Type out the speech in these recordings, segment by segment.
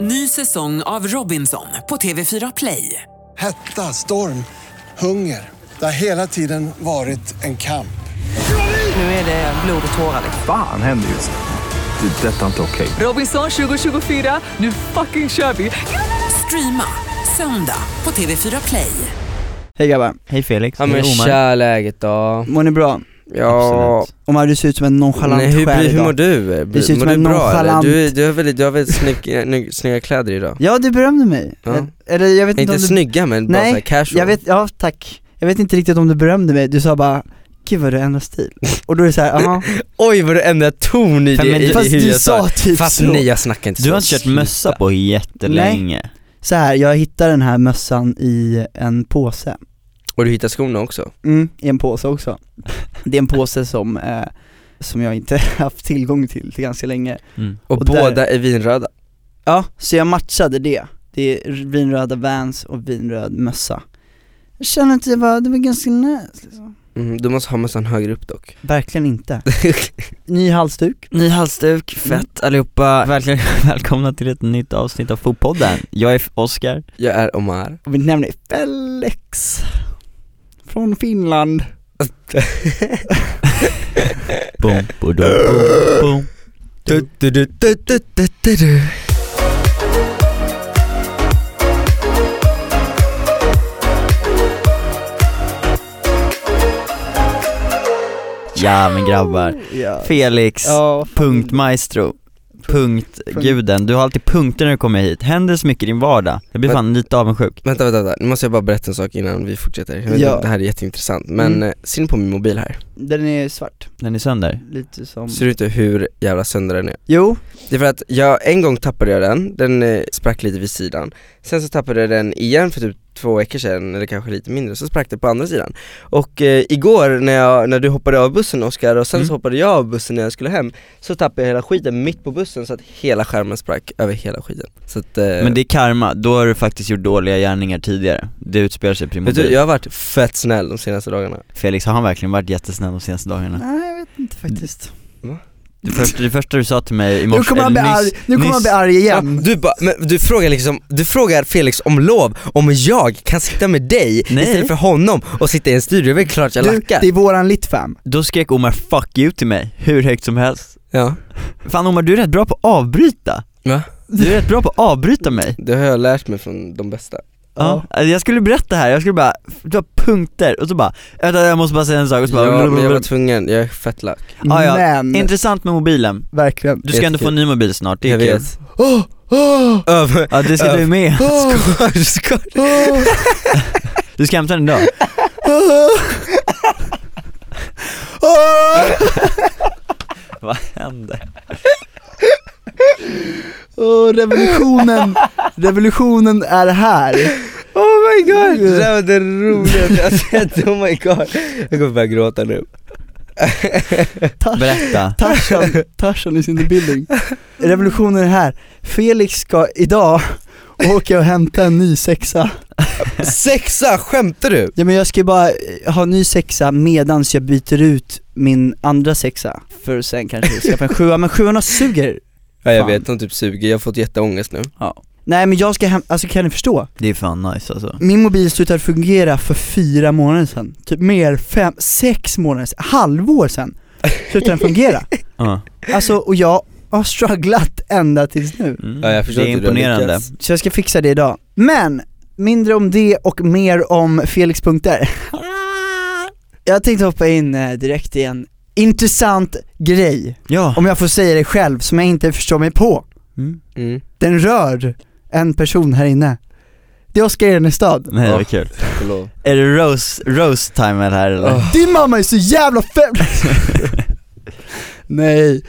Ny säsong av Robinson på TV4 Play. Hetta, storm, hunger. Det har hela tiden varit en kamp. Nu är det blod och tårar. liksom. Fan händer just nu. Det. är Detta är inte okej. Robinson 2024, nu fucking kör vi! Streama söndag på TV4 Play. Hej grabbar, Hej Felix, Ja men Hej Omar. tja läget då? mår ni bra? Ja, Absolut. Omar du ser ut som en nonchalant Nej, hur, själ hur idag mår du? Du ser ut mår som en du bra eller? nonchalant- Du, är- du har väldigt, du har väldigt snygga, ny- snygga kläder idag Ja du berömde mig, Ja. eller jag vet inte Inte om du... snygga men bara Nej, såhär casual Jag vet, ja tack Jag vet inte riktigt om du berömde mig, du sa bara 'Gud vad du ändrar stil' Och då är det såhär, jaha Oj vad du ändrar ton i Fan, det, men i, i Fast hur du jag sa typ Fast så, nej jag snackar inte så Du har inte kört mössa på jättelänge. så här, jag hittade den här mössan i en påse Och du hittar skorna också Mm, i en påse också Det är en påse som, eh, som jag inte haft tillgång till, till ganska länge Mm. Och, Och där- båda är vinröda Ja, så jag matchade det. Det är vinröda Vans och vinröd mössa. Jag känner att det var, det var ganska nice liksom. mm, Du måste ha mössan högre upp dock Verkligen inte. Ny halsduk. Ny halsduk, fett allihopa. Välkomna, Mm. välkomna till ett nytt avsnitt av Fotpodden. Jag är Oskar. Jag är Omar Och mitt namn är Felix. Från Finland. Boom, boom, boom, boom. du, du, du, du, du, du, du, du. Ja men grabbar. Ja. Felix, Ja, fan. punkt maestro. Punkt guden. Du har alltid punkter när du kommer hit. Händer så mycket i din vardag. Jag blir Men- fan lite avundsjuk. Vänta, vänta, vänta, nu måste jag bara berätta en sak innan vi fortsätter jag vet Ja. inte, Det här är jätteintressant, men Mm. mm. ser ni på min mobil här? Den är svart. Den är sönder. Lite som... Ser du inte hur jävla sönder den är? Jo, Det är för att jag, en gång tappade jag den, den eh, sprack lite vid sidan Sen så tappade jag den igen för typ två veckor sedan, eller kanske lite mindre, så sprack det på andra sidan Och eh, igår när, jag, när du hoppade av bussen Oskar, och sen Mm. så hoppade jag av bussen när jag skulle hem Så tappade jag hela skiten mitt på bussen så att hela skärmen sprack över hela skiten Så att, eh, Men det är karma, då har du faktiskt gjort dåliga gärningar tidigare. Det utspelar sig på din vet du, mobil. jag har varit fett snäll de senaste dagarna Felix, har han verkligen varit jättesnäll de senaste dagarna? nej jag vet inte faktiskt. Det första, det första du sa till mig i morse, Nu kommer han bli eller nyss- arg, nu kommer han bli arg igen. Ja, du, ba, men du frågar liksom, du frågar Felix om lov, om jag kan sitta med dig Nej. istället för honom och sitta i en studio, det är klart jag Du, lackar det är våran litfam. Då skrek Omar 'fuck you' till mig, hur högt som helst Ja, Fan Omar, du är rätt bra på att avbryta Va? Du är rätt bra på att avbryta mig det har jag lärt mig från de bästa Ja, alltså, jag skulle berätta här, jag skulle bara, du har punkter och så bara, vänta jag måste bara säga en sak och så bara, Ja men jag var tvungen, jag är fett lack Ah, ja. Men, Intressant med mobilen, verkligen. du ska ändå få en ny mobil snart, det är Jag kul vet. Åh, åh, Över, Ja det ska du med, skor, skor. åh. du ska hämta den idag Vad händer? Åh, revolutionen, revolutionen är här. Oh my god, det där var det roligaste jag sett, oh my god Jag kommer börja gråta nu Tarzan, Berätta Tarzan, Tarzan is in the building. Revolutionen är här. Felix ska idag åka och hämta en ny sexa. Sexa, skämtar du? Ja men jag ska ju bara eh, ha en ny sexa medans jag byter ut min andra sexa. För sen kanske skaffa en sjua, men sjuorna suger. Ja jag Fan. vet, de typ suger, jag har fått jätteångest nu Nej men jag ska hem, alltså kan ni förstå? Det är fan nice alltså Min mobil slutade fungera för fyra månader sedan, typ mer, fem, sex månader sedan, halvår sedan slutade den fungera. Ja. Alltså och jag har strugglat ända tills nu. Mm. Ja, jag förstår Det är inte hur du har imponerande lyckats. Så jag ska fixa det idag. Men, mindre om det och mer om Felix punkter. Jag tänkte hoppa in eh, direkt i en intressant grej, Ja, om jag får säga det själv, som jag inte förstår mig på. mm. mm. Den rör en person här inne. Det är Oskar Enestad. nej det var kul tack och lov Är det rose, rose time här eller? Åh. Din mamma är så jävla fem... Nej.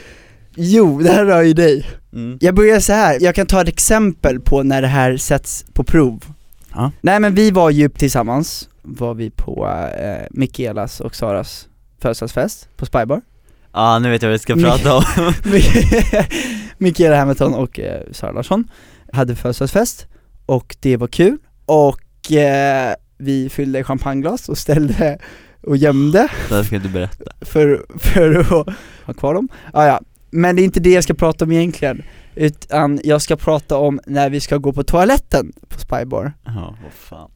Jo, det här rör ju dig. Mm. Jag börjar så här. jag kan ta ett exempel på när det här sätts på prov. Ja. Nej men vi var ju tillsammans, var vi på eh, Mikaelas och Saras födelsedagsfest på Spybar. Ja nu vet jag vad vi ska prata om Mikaela Hamilton och eh, Sara Larsson hade födelsedagsfest och det var kul och eh, vi fyllde champagneglas och ställde och gömde Det här ska du berätta för, för att ha kvar dem. Ah, ja. Men det är inte det jag ska prata om egentligen. Utan jag ska prata om när vi ska gå på toaletten på Spybar Ja, vad fan.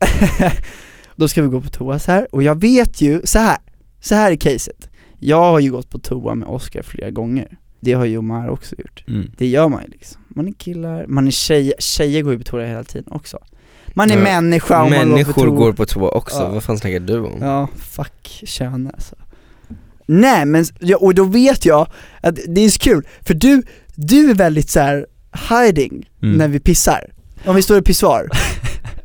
Då ska vi gå på toa så här och jag vet ju, så här, så här är caset Jag har ju gått på toa med Oscar flera gånger Det har ju Omar också gjort Mm. Det gör man ju liksom, man är killar, man är tjejer, tjejer går ju på toa hela tiden också Man är Ja. människa och man går på Människor toa går på toa också, Ja. vad fan snackar du om? Ja, fuck kön alltså Nej men, ja, och då vet jag att det är så kul, för du, du är väldigt så här hiding Mm. när vi pissar Om vi står i pissoar,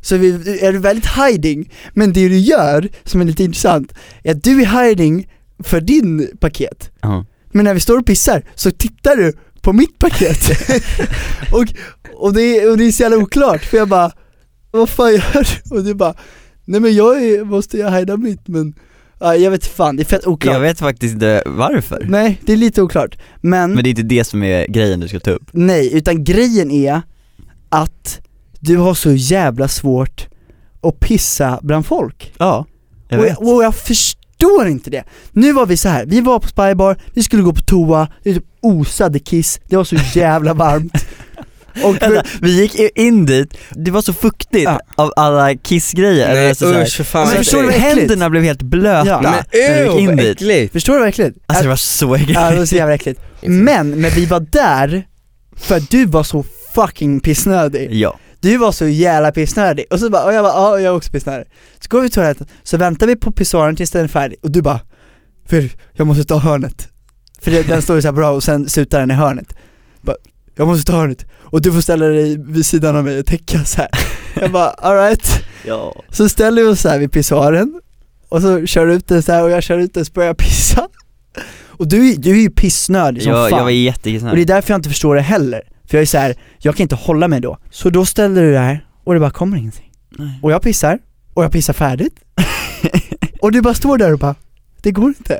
så är, vi, är du väldigt hiding, men det du gör som är lite intressant, är att du är hiding för din paket Ja. men när vi står och pissar så tittar du på mitt paket och, och, det är, och det är så jävla oklart för jag bara Vad fan gör du? Och du bara Nej men jag är, måste jag hejda mitt men ja, Jag vet fan, det är fett oklart Jag vet faktiskt inte varför. Nej det är lite oklart men, Men det är inte det som är grejen du ska ta upp. nej utan grejen är att du har så jävla svårt att pissa bland folk Ja, jag och, vet. jag, och jag förstår inte det. Nu var vi så här. vi var på Spybar, vi skulle gå på toa, vi typ osade kiss, det var så jävla varmt. Och Vänta, vi gick in dit, det var så fuktigt Ja. av alla kissgrejer. Nej Alltså så här- usch, för fan Men vad förstår du, äckligt. händerna blev helt blöta Ja. Men när vi gick ew, in vad dit. äckligt! förstår du verkligen? Alltså det var så äckligt. Ja, det var så jävla äckligt. Men, men vi var där för att du var så fucking pissnödig. Ja. Du var så jävla pissnödig. Och så bara, och jag bara, ja jag är också pissnödig. Så går vi till toaletten, så väntar vi på pissoaren tills den är färdig och du bara, för jag måste ta hörnet. För det, den står ju så här bra och sen slutar den i hörnet. Bara, jag måste ta hörnet. Och du får ställa dig vid sidan av mig och täcka så här. Jag bara, alright. ja. Så ställer vi oss så här vid pissoaren och så kör du ut den så här och jag kör ut den så börjar jag pissa. Och du, är- du är ju pissnödig som Jag, fan. jag var Och det är jättekissnödig. därför jag inte förstår det heller. För jag är så här, jag kan inte hålla mig då. Så då ställer du det här och det bara kommer ingenting. Nej. Och jag pissar, och jag pissar färdigt. och du bara står där och bara, det går inte.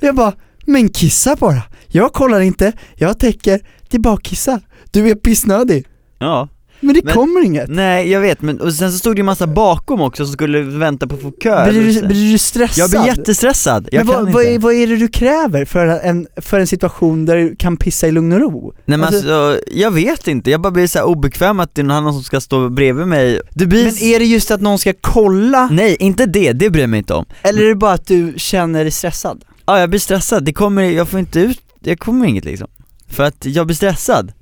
Jag bara, men kissa bara. Jag kollar inte, jag täcker, det är bara att kissa. Du är pissnödig. Ja. Men det Men- kommer inget. Nej jag vet, men och sen så stod det ju massa bakom också som skulle vänta på att få kö. Blir du, blir du stressad? Jag blir jättestressad, jag men kan vad, vad, är, inte. vad är det du kräver för en, för en situation där du kan pissa i lugn och ro? Nej men Alltså- alltså, jag vet inte, jag bara blir så här obekväm att det är någon annan som ska stå bredvid mig. Det blir... Men är det just att någon ska kolla, Nej, inte det, det bryr jag mig inte om. eller är det bara att du känner dig stressad? Ja, jag blir stressad, det kommer, jag får inte ut, jag kommer inget liksom. För att jag blir stressad.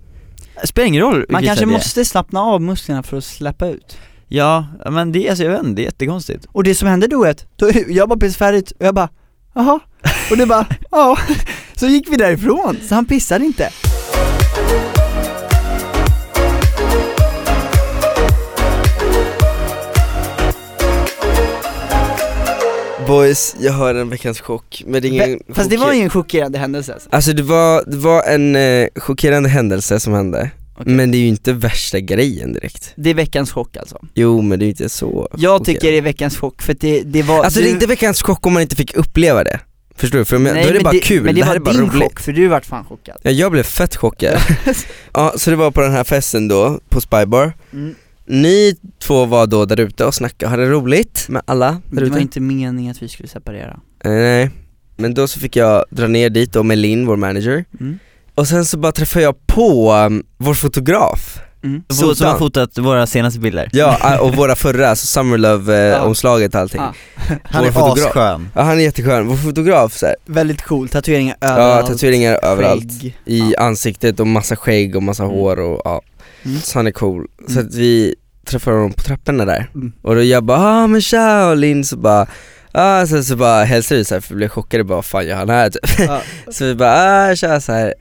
Spelar ingen roll Man vilket kanske jag är. måste slappna av musklerna för att släppa ut. Ja, men det, alltså jag vet inte, det är jättekonstigt. Och det som hände då är att då, jag bara pissade färdigt och jag bara jaha, och det bara ja, så gick vi därifrån, så han pissade inte. Boys, jag har en veckans chock, men det är ingen Fast det chock- var ju en chockerande händelse alltså. Alltså det var, det var en eh, chockerande händelse som hände, Okej. men det är ju inte värsta grejen direkt Det är veckans chock alltså. Jo men det är ju inte så Jag chockerande. tycker det är veckans chock för att det, det var Alltså det är inte veckans chock om man inte fick uppleva det, förstår du? För om jag, då är det men bara kul, Men det, det, här är var bara din roligt chock för du vart fan chockad. Ja jag blev fett chockad Ja så det var på den här festen då, på Spybar Mm. Ni två var då där ute och snackade, hade roligt med alla där Det var ute inte meningen att vi skulle separera. Eh, Nej, men då så fick jag dra ner dit då med Linn, vår manager Mm. Och sen så bara träffade jag på um, vår fotograf Mm. Så, som Sotan. har fotat våra senaste bilder. Ja, eh, och våra förra, alltså Ja. Summerlove-omslaget och allting Ah. Han Vår är fotograf. asskön. Ja han är jätteskön, vår fotograf så här. Väldigt cool, tatueringar ja överallt. tatueringar överallt skägg. i ansiktet och massa skägg och massa hår och ja, Mm. så han är cool. Så Mm. att vi träffade honom på trapporna där Mm. och då jag bara ah men tja och Linn så bara Ah, sen så bara hälsade vi såhär för vi blev chockade bara fan gör han här typ. Ja. Så vi bara ah, tja så här.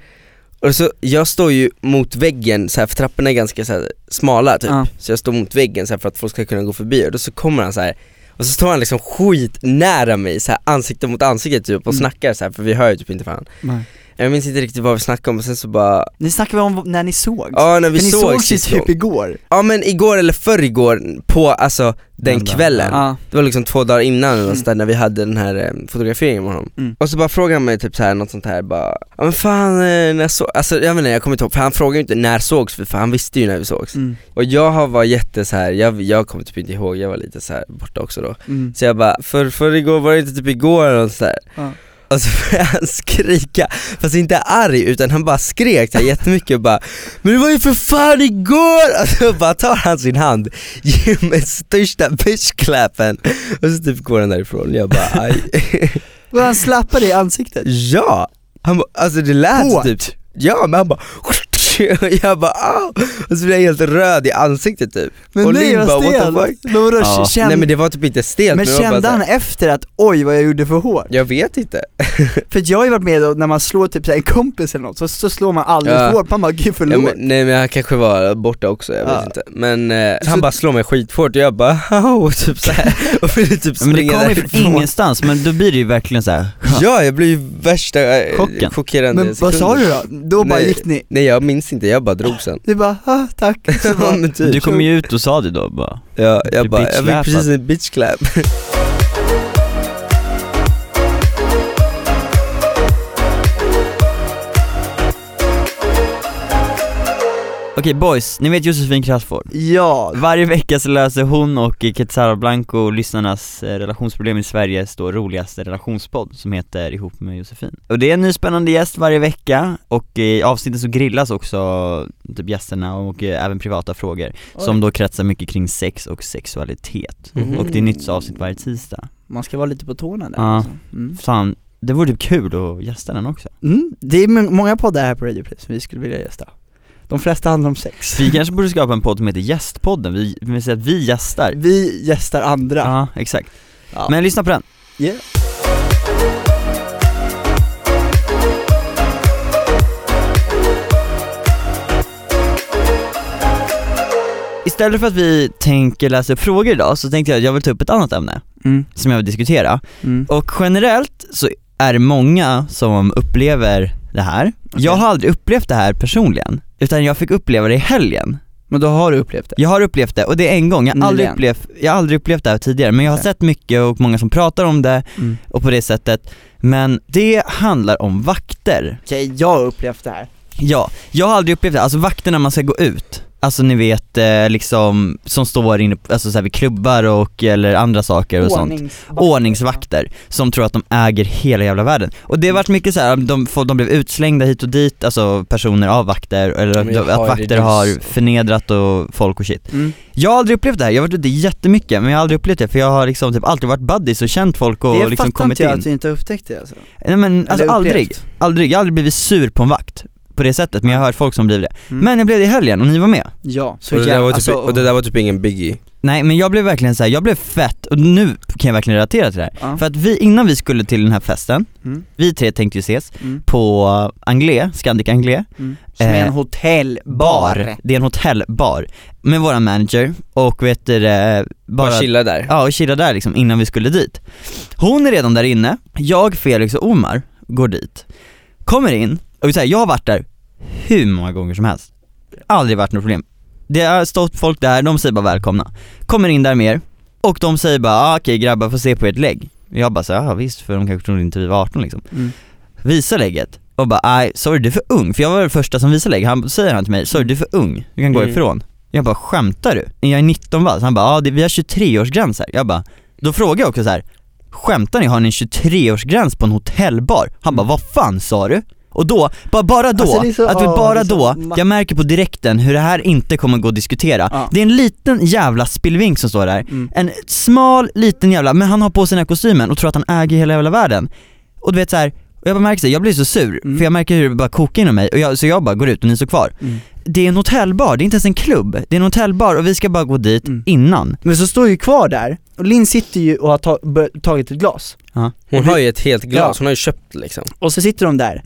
Och så, jag står ju mot väggen så här, för trapporna är ganska så här, smala typ Ja. Så jag står mot väggen så här, för att folk ska kunna gå förbi och då så kommer han så här. Och så står han liksom skitnära mig så här, ansikte mot ansikte typ och Mm. snackar så här, för vi hör ju typ inte fan Nej. Jag minns inte riktigt vad vi snackade om och sen så bara Nu snackar vi om när ni sågs. Ja när vi För ni såg sågs ju sist typ gång. igår. Ja men igår eller förr igår på alltså den Den där. kvällen Ja. Det var liksom två dagar innan eller någonstans där när vi hade den här eh, fotograferingen med honom Mm. Och så bara frågade han mig typ så här något sånt här bara Ja men fan eh, när så alltså jag menar jag kommer inte ihåg för han frågade ju inte när sågs vi för han visste ju när vi sågs Mm. Och jag har- var jätte så här jag, jag kommer typ inte ihåg, jag var lite så här borta också då Mm. Så jag bara, för, för igår var det inte typ igår eller något så här. Ja. Alltså började han skrika, fast inte arg utan han bara skrek så här jättemycket och bara Men det var ju för fan igår! Alltså bara tar han sin hand, ger mig största bitchklappen och så typ går han därifrån jag bara aj. Och han slappar dig i ansiktet. Ja! Han bara, alltså det lät Hårt. typ, ja men han bara och jag bara Au! Och så blev jag helt röd i ansiktet typ. Men och nej, Linn jag bara what the stel. fuck? Men vadå, Ja. känd, Nej men det var typ inte stelt men jag bara kände så här, han efter att oj vad jag gjorde för hårt? Jag vet inte. För att jag har ju varit med då, när man slår typ så här en kompis eller något, så, så slår man alldeles Ja. för hårt, man bara gud Ja, förlåt. men, nej men han kanske var borta också, jag Ja. vet inte. Men eh, Så- han bara slår mig skithårt och jag bara "Au", typ såhär och ville typ Men det springa kommer ju från därifrån. ingenstans, men då blir det ju verkligen så här. Ja jag blev ju värsta eh, Chocken. chockerande Men vad sa sekunden. du då? Då bara Nej. gick ni, Nej jag minns inte, jag bara drog sen. du bara ah, tack, så Ja, bara, men typ. Du kom ju ut och sa det då bara Ja, jag Du bara, jag fick bitchclappad. precis en bitch clap. Okej boys, ni vet Josefin Crafoord ja, Varje vecka så löser hon och Quetzara Blanco lyssnarnas eh, relationsproblem i Sveriges då roligaste relationspodd som heter Ihop med Josefin Och det är en ny spännande gäst varje vecka och i avsnitten så grillas också typ gästerna och eh, även privata frågor Som då kretsar mycket kring sex och sexualitet Mhm. Och det är nytt avsnitt varje tisdag man ska vara lite på tårna där Ja. alltså. mm. Fan, det vore typ kul att gästa den också Mm. Det är må- många poddar här på Radio Play som vi skulle vilja gästa De flesta handlar om sex Vi kanske borde skapa en podd som heter Gästpodden, vi, vi säger att vi gästar Vi gästar andra Ja, exakt. Ja. Men lyssna på den. Yeah. Istället för att vi tänker läsa upp frågor idag så tänkte jag att jag vill ta upp ett annat ämne Mm. som jag vill diskutera. Mm. Och generellt så är det många som upplever det här. Jag har aldrig upplevt det här personligen, utan jag fick uppleva det i helgen. Men då har du upplevt det? Jag har upplevt det och det är en gång, jag har, aldrig Nyligen. upplevt, jag har aldrig upplevt det här tidigare men jag har Okej. sett mycket och många som pratar om det Mm. och på det sättet. Men det handlar om vakter. Okej, jag har upplevt det här Ja, jag har aldrig upplevt det, alltså vakter när man ska gå ut Alltså ni vet eh, liksom, som står inne på- alltså, så här, vid klubbar och eller andra saker och sånt Ordningsvakter, som tror att de äger hela jävla världen. Och det har varit mycket så här, de, folk- de blev utslängda hit och dit, alltså personer av vakter, eller Men jag att, att har vakter det har just- förnedrat och folk och shit Mm. Jag har aldrig upplevt det här, jag har varit ute jättemycket men jag har aldrig upplevt det för jag har liksom typ alltid varit buddies och känt folk och Det liksom fattar kommit inte in jag att du inte upptäckte alltså Nej men alltså Eller aldrig, upplevt. aldrig, jag har aldrig blivit sur på en vakt på det sättet, men jag har hört folk som blir det. Mm. Men jag blev det i helgen och ni var med. Ja, så och, det där jävla- var typ, alltså, och det där var typ ingen biggie. Nej men jag blev verkligen så här, jag blev fett, och nu kan jag verkligen relatera till det här. Ja. För att vi, innan vi skulle till den här festen, Mm. vi tre tänkte ju ses Mm. på Anglais, Scandic Anglais Mm. Som är Eh, en hotellbar Det är en hotellbar, med våran manager och vet du det, Bara, bara chilla där. Ja och chilla där liksom innan vi skulle dit. Hon är redan där inne, jag, Felix och Omar går dit, kommer in och vi säger jag har varit där hur många gånger som helst. Aldrig varit något problem. Det har stått folk där, de säger bara välkomna. Kommer in där mer och de säger bara ah, okej grabbar får se på ert lägg. Jag bara så ja visst för de kanske trodde inte vi var 18 liksom. Mm. Visar lägget och bara nej sorry du är för ung, för jag var den första som visade lägg. Han säger han till mig sorry du är för ung, du kan gå Mm. ifrån. Jag bara skämtar du? Jag är 19 va? Så han bara ja det- vi har 23-årsgräns här. Jag bara då frågar jag också så här. Skämtar ni? Har ni en 23-årsgräns på en hotellbar? Han bara, vad fan sa du? Och då, bara, bara då, Mm. Alltså, det är så- att vi ja, det bara är så då, ma- jag märker på direkten hur det här inte kommer gå att diskutera. Ja. Det är en liten jävla spillvink som står där. Mm. En smal liten jävla, men han har på sig den här kostymen och tror att han äger hela jävla världen. Och du vet så här, och jag bara märker det, jag blir så sur, Mm. för jag märker hur det bara kokar inom mig, och jag, så jag bara går ut och ni står kvar. Mm. Det är en hotellbar, det är inte ens en klubb. Det är en hotellbar och vi ska bara gå dit Mm. innan. Men så står ju kvar där, och Linn sitter ju och har ta- bör- tagit ett glas Hon har ju ett helt glas, Ja. hon har ju köpt liksom. Och så sitter de där,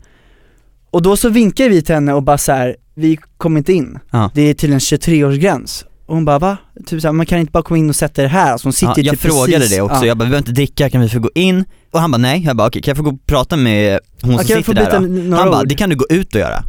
och då så vinkar vi till henne och bara så här, vi kommer inte in Ja. Det är till en 23-årsgräns, och hon bara va? Typ så här, man kan inte bara komma in och sätta det här, alltså hon sitter Ja, ju jag typ frågade precis, det också, ja. jag bara vi behöver inte dricka, kan vi få gå in? Och han bara nej, jag bara okej kan jag få gå och prata med hon som Okej, vi får sitter byta där då? n- några Han bara ord. det kan du gå ut och göra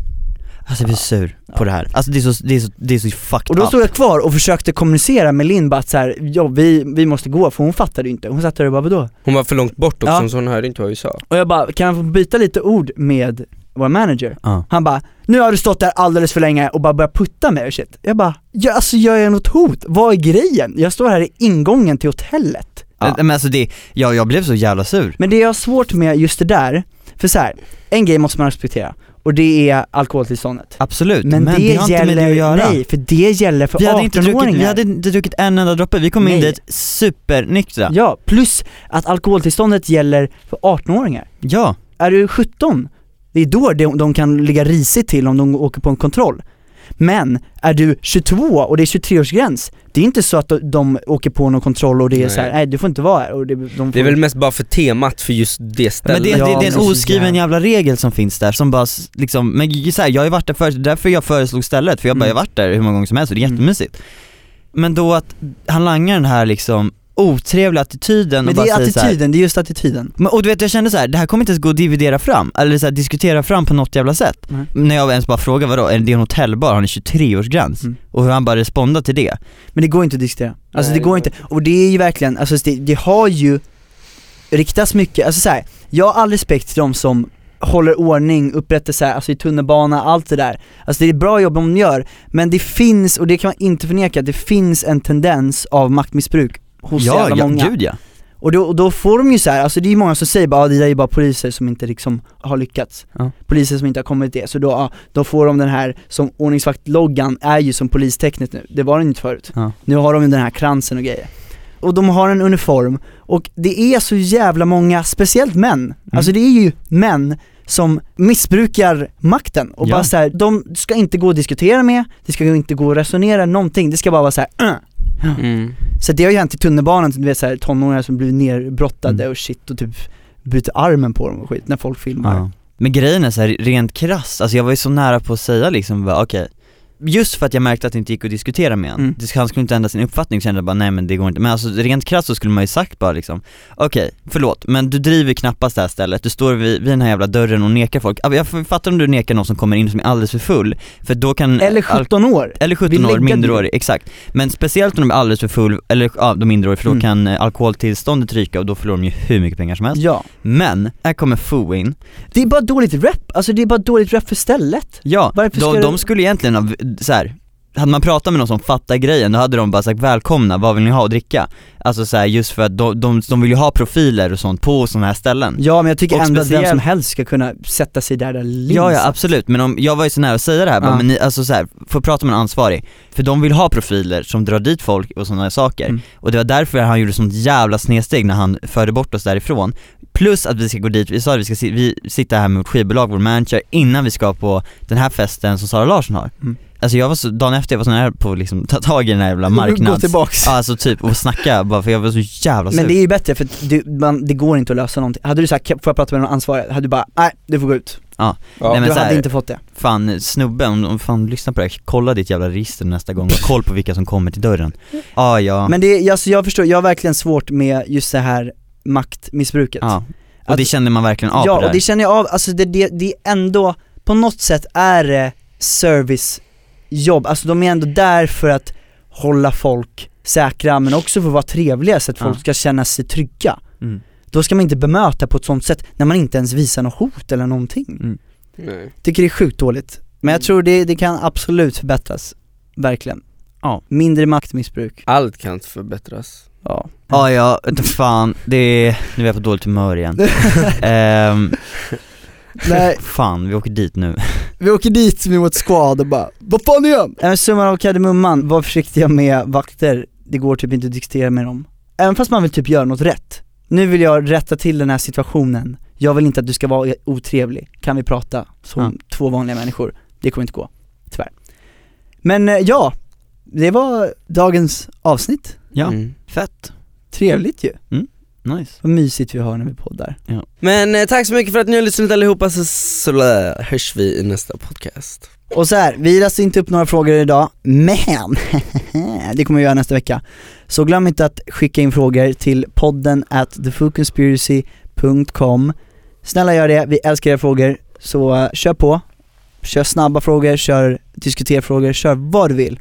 Alltså jag blir sur på det här, alltså det är så, det är så, det är så fucked Och då up stod jag kvar och försökte kommunicera med Linn bara att så här, ja vi, vi måste gå för hon fattade ju inte, hon satt där och bara vadå? Hon var för långt bort också Ja. så hon hörde inte vad vi sa. Och jag bara, kan jag få byta lite ord med vår manager? Ja. Han bara, nu har du stått där alldeles för länge och bara börjat putta mig och shit. Jag bara, ja, alltså gör jag något hot? Vad är grejen? Jag står här i ingången till hotellet. Ja. Men alltså det, ja, jag blev så jävla sur. Men det jag har svårt med just det där, för så här, en grej måste man respektera och det är alkoholtillståndet. Absolut, Men, det, har gäller, inte med det att göra. nej för det gäller för Vi hade, inte druckit, 18-åringar. vi hade inte druckit en enda droppe, vi kom in Nej. dit supernyktra. Ja. Ja, plus att alkoholtillståndet gäller för 18-åringar. Är du 17, det är då de, de kan ligga risigt till om de åker på en kontroll. Men är du 22 och det är 23-årsgräns, det är inte så att de, de åker på någon kontroll och det är Nej. så här, nej du får inte vara här och det, de får, Det är väl mest bara för temat för just det Men stället. det, Ja, det, det är en men så oskriven jävla- jävla regel som finns där som bara s- liksom, men ju- så här, jag har ju varit där förut, det är därför jag föreslog stället, för jag bara, Mm. jag har varit där hur många gånger som helst och det är Mm. jättemysigt. Men då att han langar den här liksom otrevliga attityden Men och det bara är säger så här, attityden, det är just attityden. Men, och du vet jag kände så här, det här kommer inte ens gå att dividera fram, eller så här, diskutera fram på något jävla sätt. Nej. När jag ens bara frågar vadå, är det en hotellbar, har ni 23-årsgräns? Mm. Och hur han bara respondade till det. Men det går inte att diskutera. Alltså Nej, det går det inte, och det är ju verkligen, alltså det, det har ju riktats mycket, alltså så här, jag har all respekt till de som håller ordning, upprättar så här, alltså i tunnelbana, allt det där. Alltså det är ett bra jobb de gör, men det finns, och det kan man inte förneka, det finns en tendens av maktmissbruk hos ja, jävla ja, många. gud ja. Och då, och då får de ju så här, alltså det är ju många som säger bara ah, det där är ju bara poliser som inte liksom har lyckats Ja. Poliser som inte har kommit till det, så då, ah, då får de den här, som ordningsvaktloggan är ju som polistecknet nu, det var den inte förut Ja. Nu har de ju den här kransen och grejer Och de har en uniform, och det är så jävla många, speciellt män, Mm. alltså det är ju män som missbrukar makten och Ja. bara så här, de ska inte gå och diskutera med, det ska inte gå och resonera någonting, det ska bara vara så här. "Äh, Mm. så det har ju hänt i tunnelbanan, du vet såhär tonåringar som blir nerbrottade Mm. och shit och typ bryter armen på dem och skit när folk filmar. Ja. Men grejen är så här, rent krass, alltså jag var ju så nära på att säga liksom bara, okej Just för att jag märkte att det inte gick att diskutera med honom, Mm. Det- han skulle inte ändra sin uppfattning, så kände jag bara nej men det går inte, men alltså rent krasst så skulle man ju sagt bara liksom Okej, förlåt, men du driver knappast det här stället, du står vid, vid den här jävla dörren och nekar folk Ja, Jag fattar om du nekar någon som kommer in som är alldeles för full, för då kan Eller alk- 17 år! eller Vi 17 lägger år, det. minderårig, exakt. Men speciellt om de är alldeles för full, eller ja, de är minderåriga för då Mm. kan eh, alkoholtillståndet ryka och då förlorar de ju hur mycket pengar som helst. Ja. Men, här kommer FO in. Det är bara dåligt rep, alltså det är bara dåligt rep för stället. Ja, Varför ska de, du- de skulle egentligen ha, så här. hade man pratat med någon som fattar grejen, då hade de bara sagt välkomna, vad vill ni ha att dricka? Alltså så här, just för att de, de, de vill ju ha profiler och sånt på sådana här ställen. Ja men jag tycker Och ändå att vem speciellt- som helst ska kunna sätta sig där där Linn Ja, ja satt. absolut, men om, jag var ju så nära att säga det här, bara, Ja. men ni, alltså så här, får prata med en ansvarig, för de vill ha profiler som drar dit folk och sådana saker. Mm. Och det var därför han gjorde sånt jävla snedsteg när han förde bort oss därifrån. Plus att vi ska gå dit, vi sa att vi ska si, vi sitta här med vårt skivbolag, vår manager, innan vi ska på den här festen som Sara Larsson har. Mm. Alltså jag var så, dagen efter jag var så nära på att liksom ta tag i den här jävla marknads... Gå tillbaks. Ja, Alltså typ, och snacka bara för jag var så jävla sur. Men det är ju bättre för att du, man, det går inte att lösa någonting. Hade du sagt får jag prata med någon ansvarig? Hade du bara, nej du får gå ut. Nej, men du så hade här, inte fått det. Fan snubben, om- om fan lyssna på det här, kolla ditt jävla register nästa gång, och koll på vilka som kommer till dörren. Ah, ja, Men det, är- alltså, jag förstår, jag har verkligen svårt med just det här maktmissbruket. ja. Och det Att- kände man verkligen av alltså, ja, på det och där. det känner jag av, alltså det, det, det är ändå, på något sätt är det servicejobb, alltså de är ändå där för att hålla folk säkra men också för att vara trevliga så att folk Ja. ska känna sig trygga. Mm. Då ska man inte bemöta på ett sånt sätt när man inte ens visar något hot eller någonting. Mm. Nej. Tycker det är sjukt dåligt. Men jag tror det, det kan absolut förbättras, verkligen. Ja. Mindre maktmissbruk. Allt kan inte förbättras. Ja. Ah, ja, inte fan, det är, nu är jag på dåligt humör igen. Ehm, Nej, fan, vi åker dit nu. vi åker dit med vårt squad och bara Vad fan gör han? Summan av kardemumman, var försiktiga med vakter, det går typ inte att diskutera med dem Även fast man vill typ göra något rätt Nu vill jag rätta till den här situationen Jag vill inte att du ska vara otrevlig, kan vi prata som Ja. två vanliga människor? Det kommer inte gå, tyvärr Men eh, ja, det var dagens avsnitt Ja, Mm. fett. Trevligt ju, Nice. vad mysigt vi har när vi poddar Men eh, tack så mycket för att ni har lyssnat allihopa så, så hörs vi i nästa podcast. Och så här, vi läser inte upp några frågor idag, men det kommer vi göra nästa vecka. Så glöm inte att skicka in frågor till podden at thefoodconspiracy.com Snälla gör det, vi älskar era frågor, så eh, kör på. Kör snabba frågor, kör diskuterfrågor, kör vad du vill.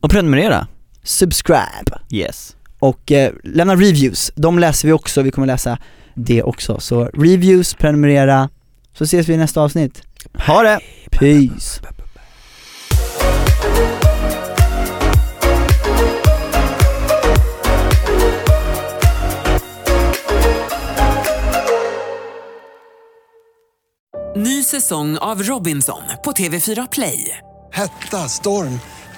Och prenumerera. Subscribe! Yes. Och eh, lämna reviews, de läser vi också, vi kommer läsa det också. Så reviews, prenumerera, så ses vi i nästa avsnitt. Ha det! Peace! säsong av Robinson på TV4 Play. Hetta, storm,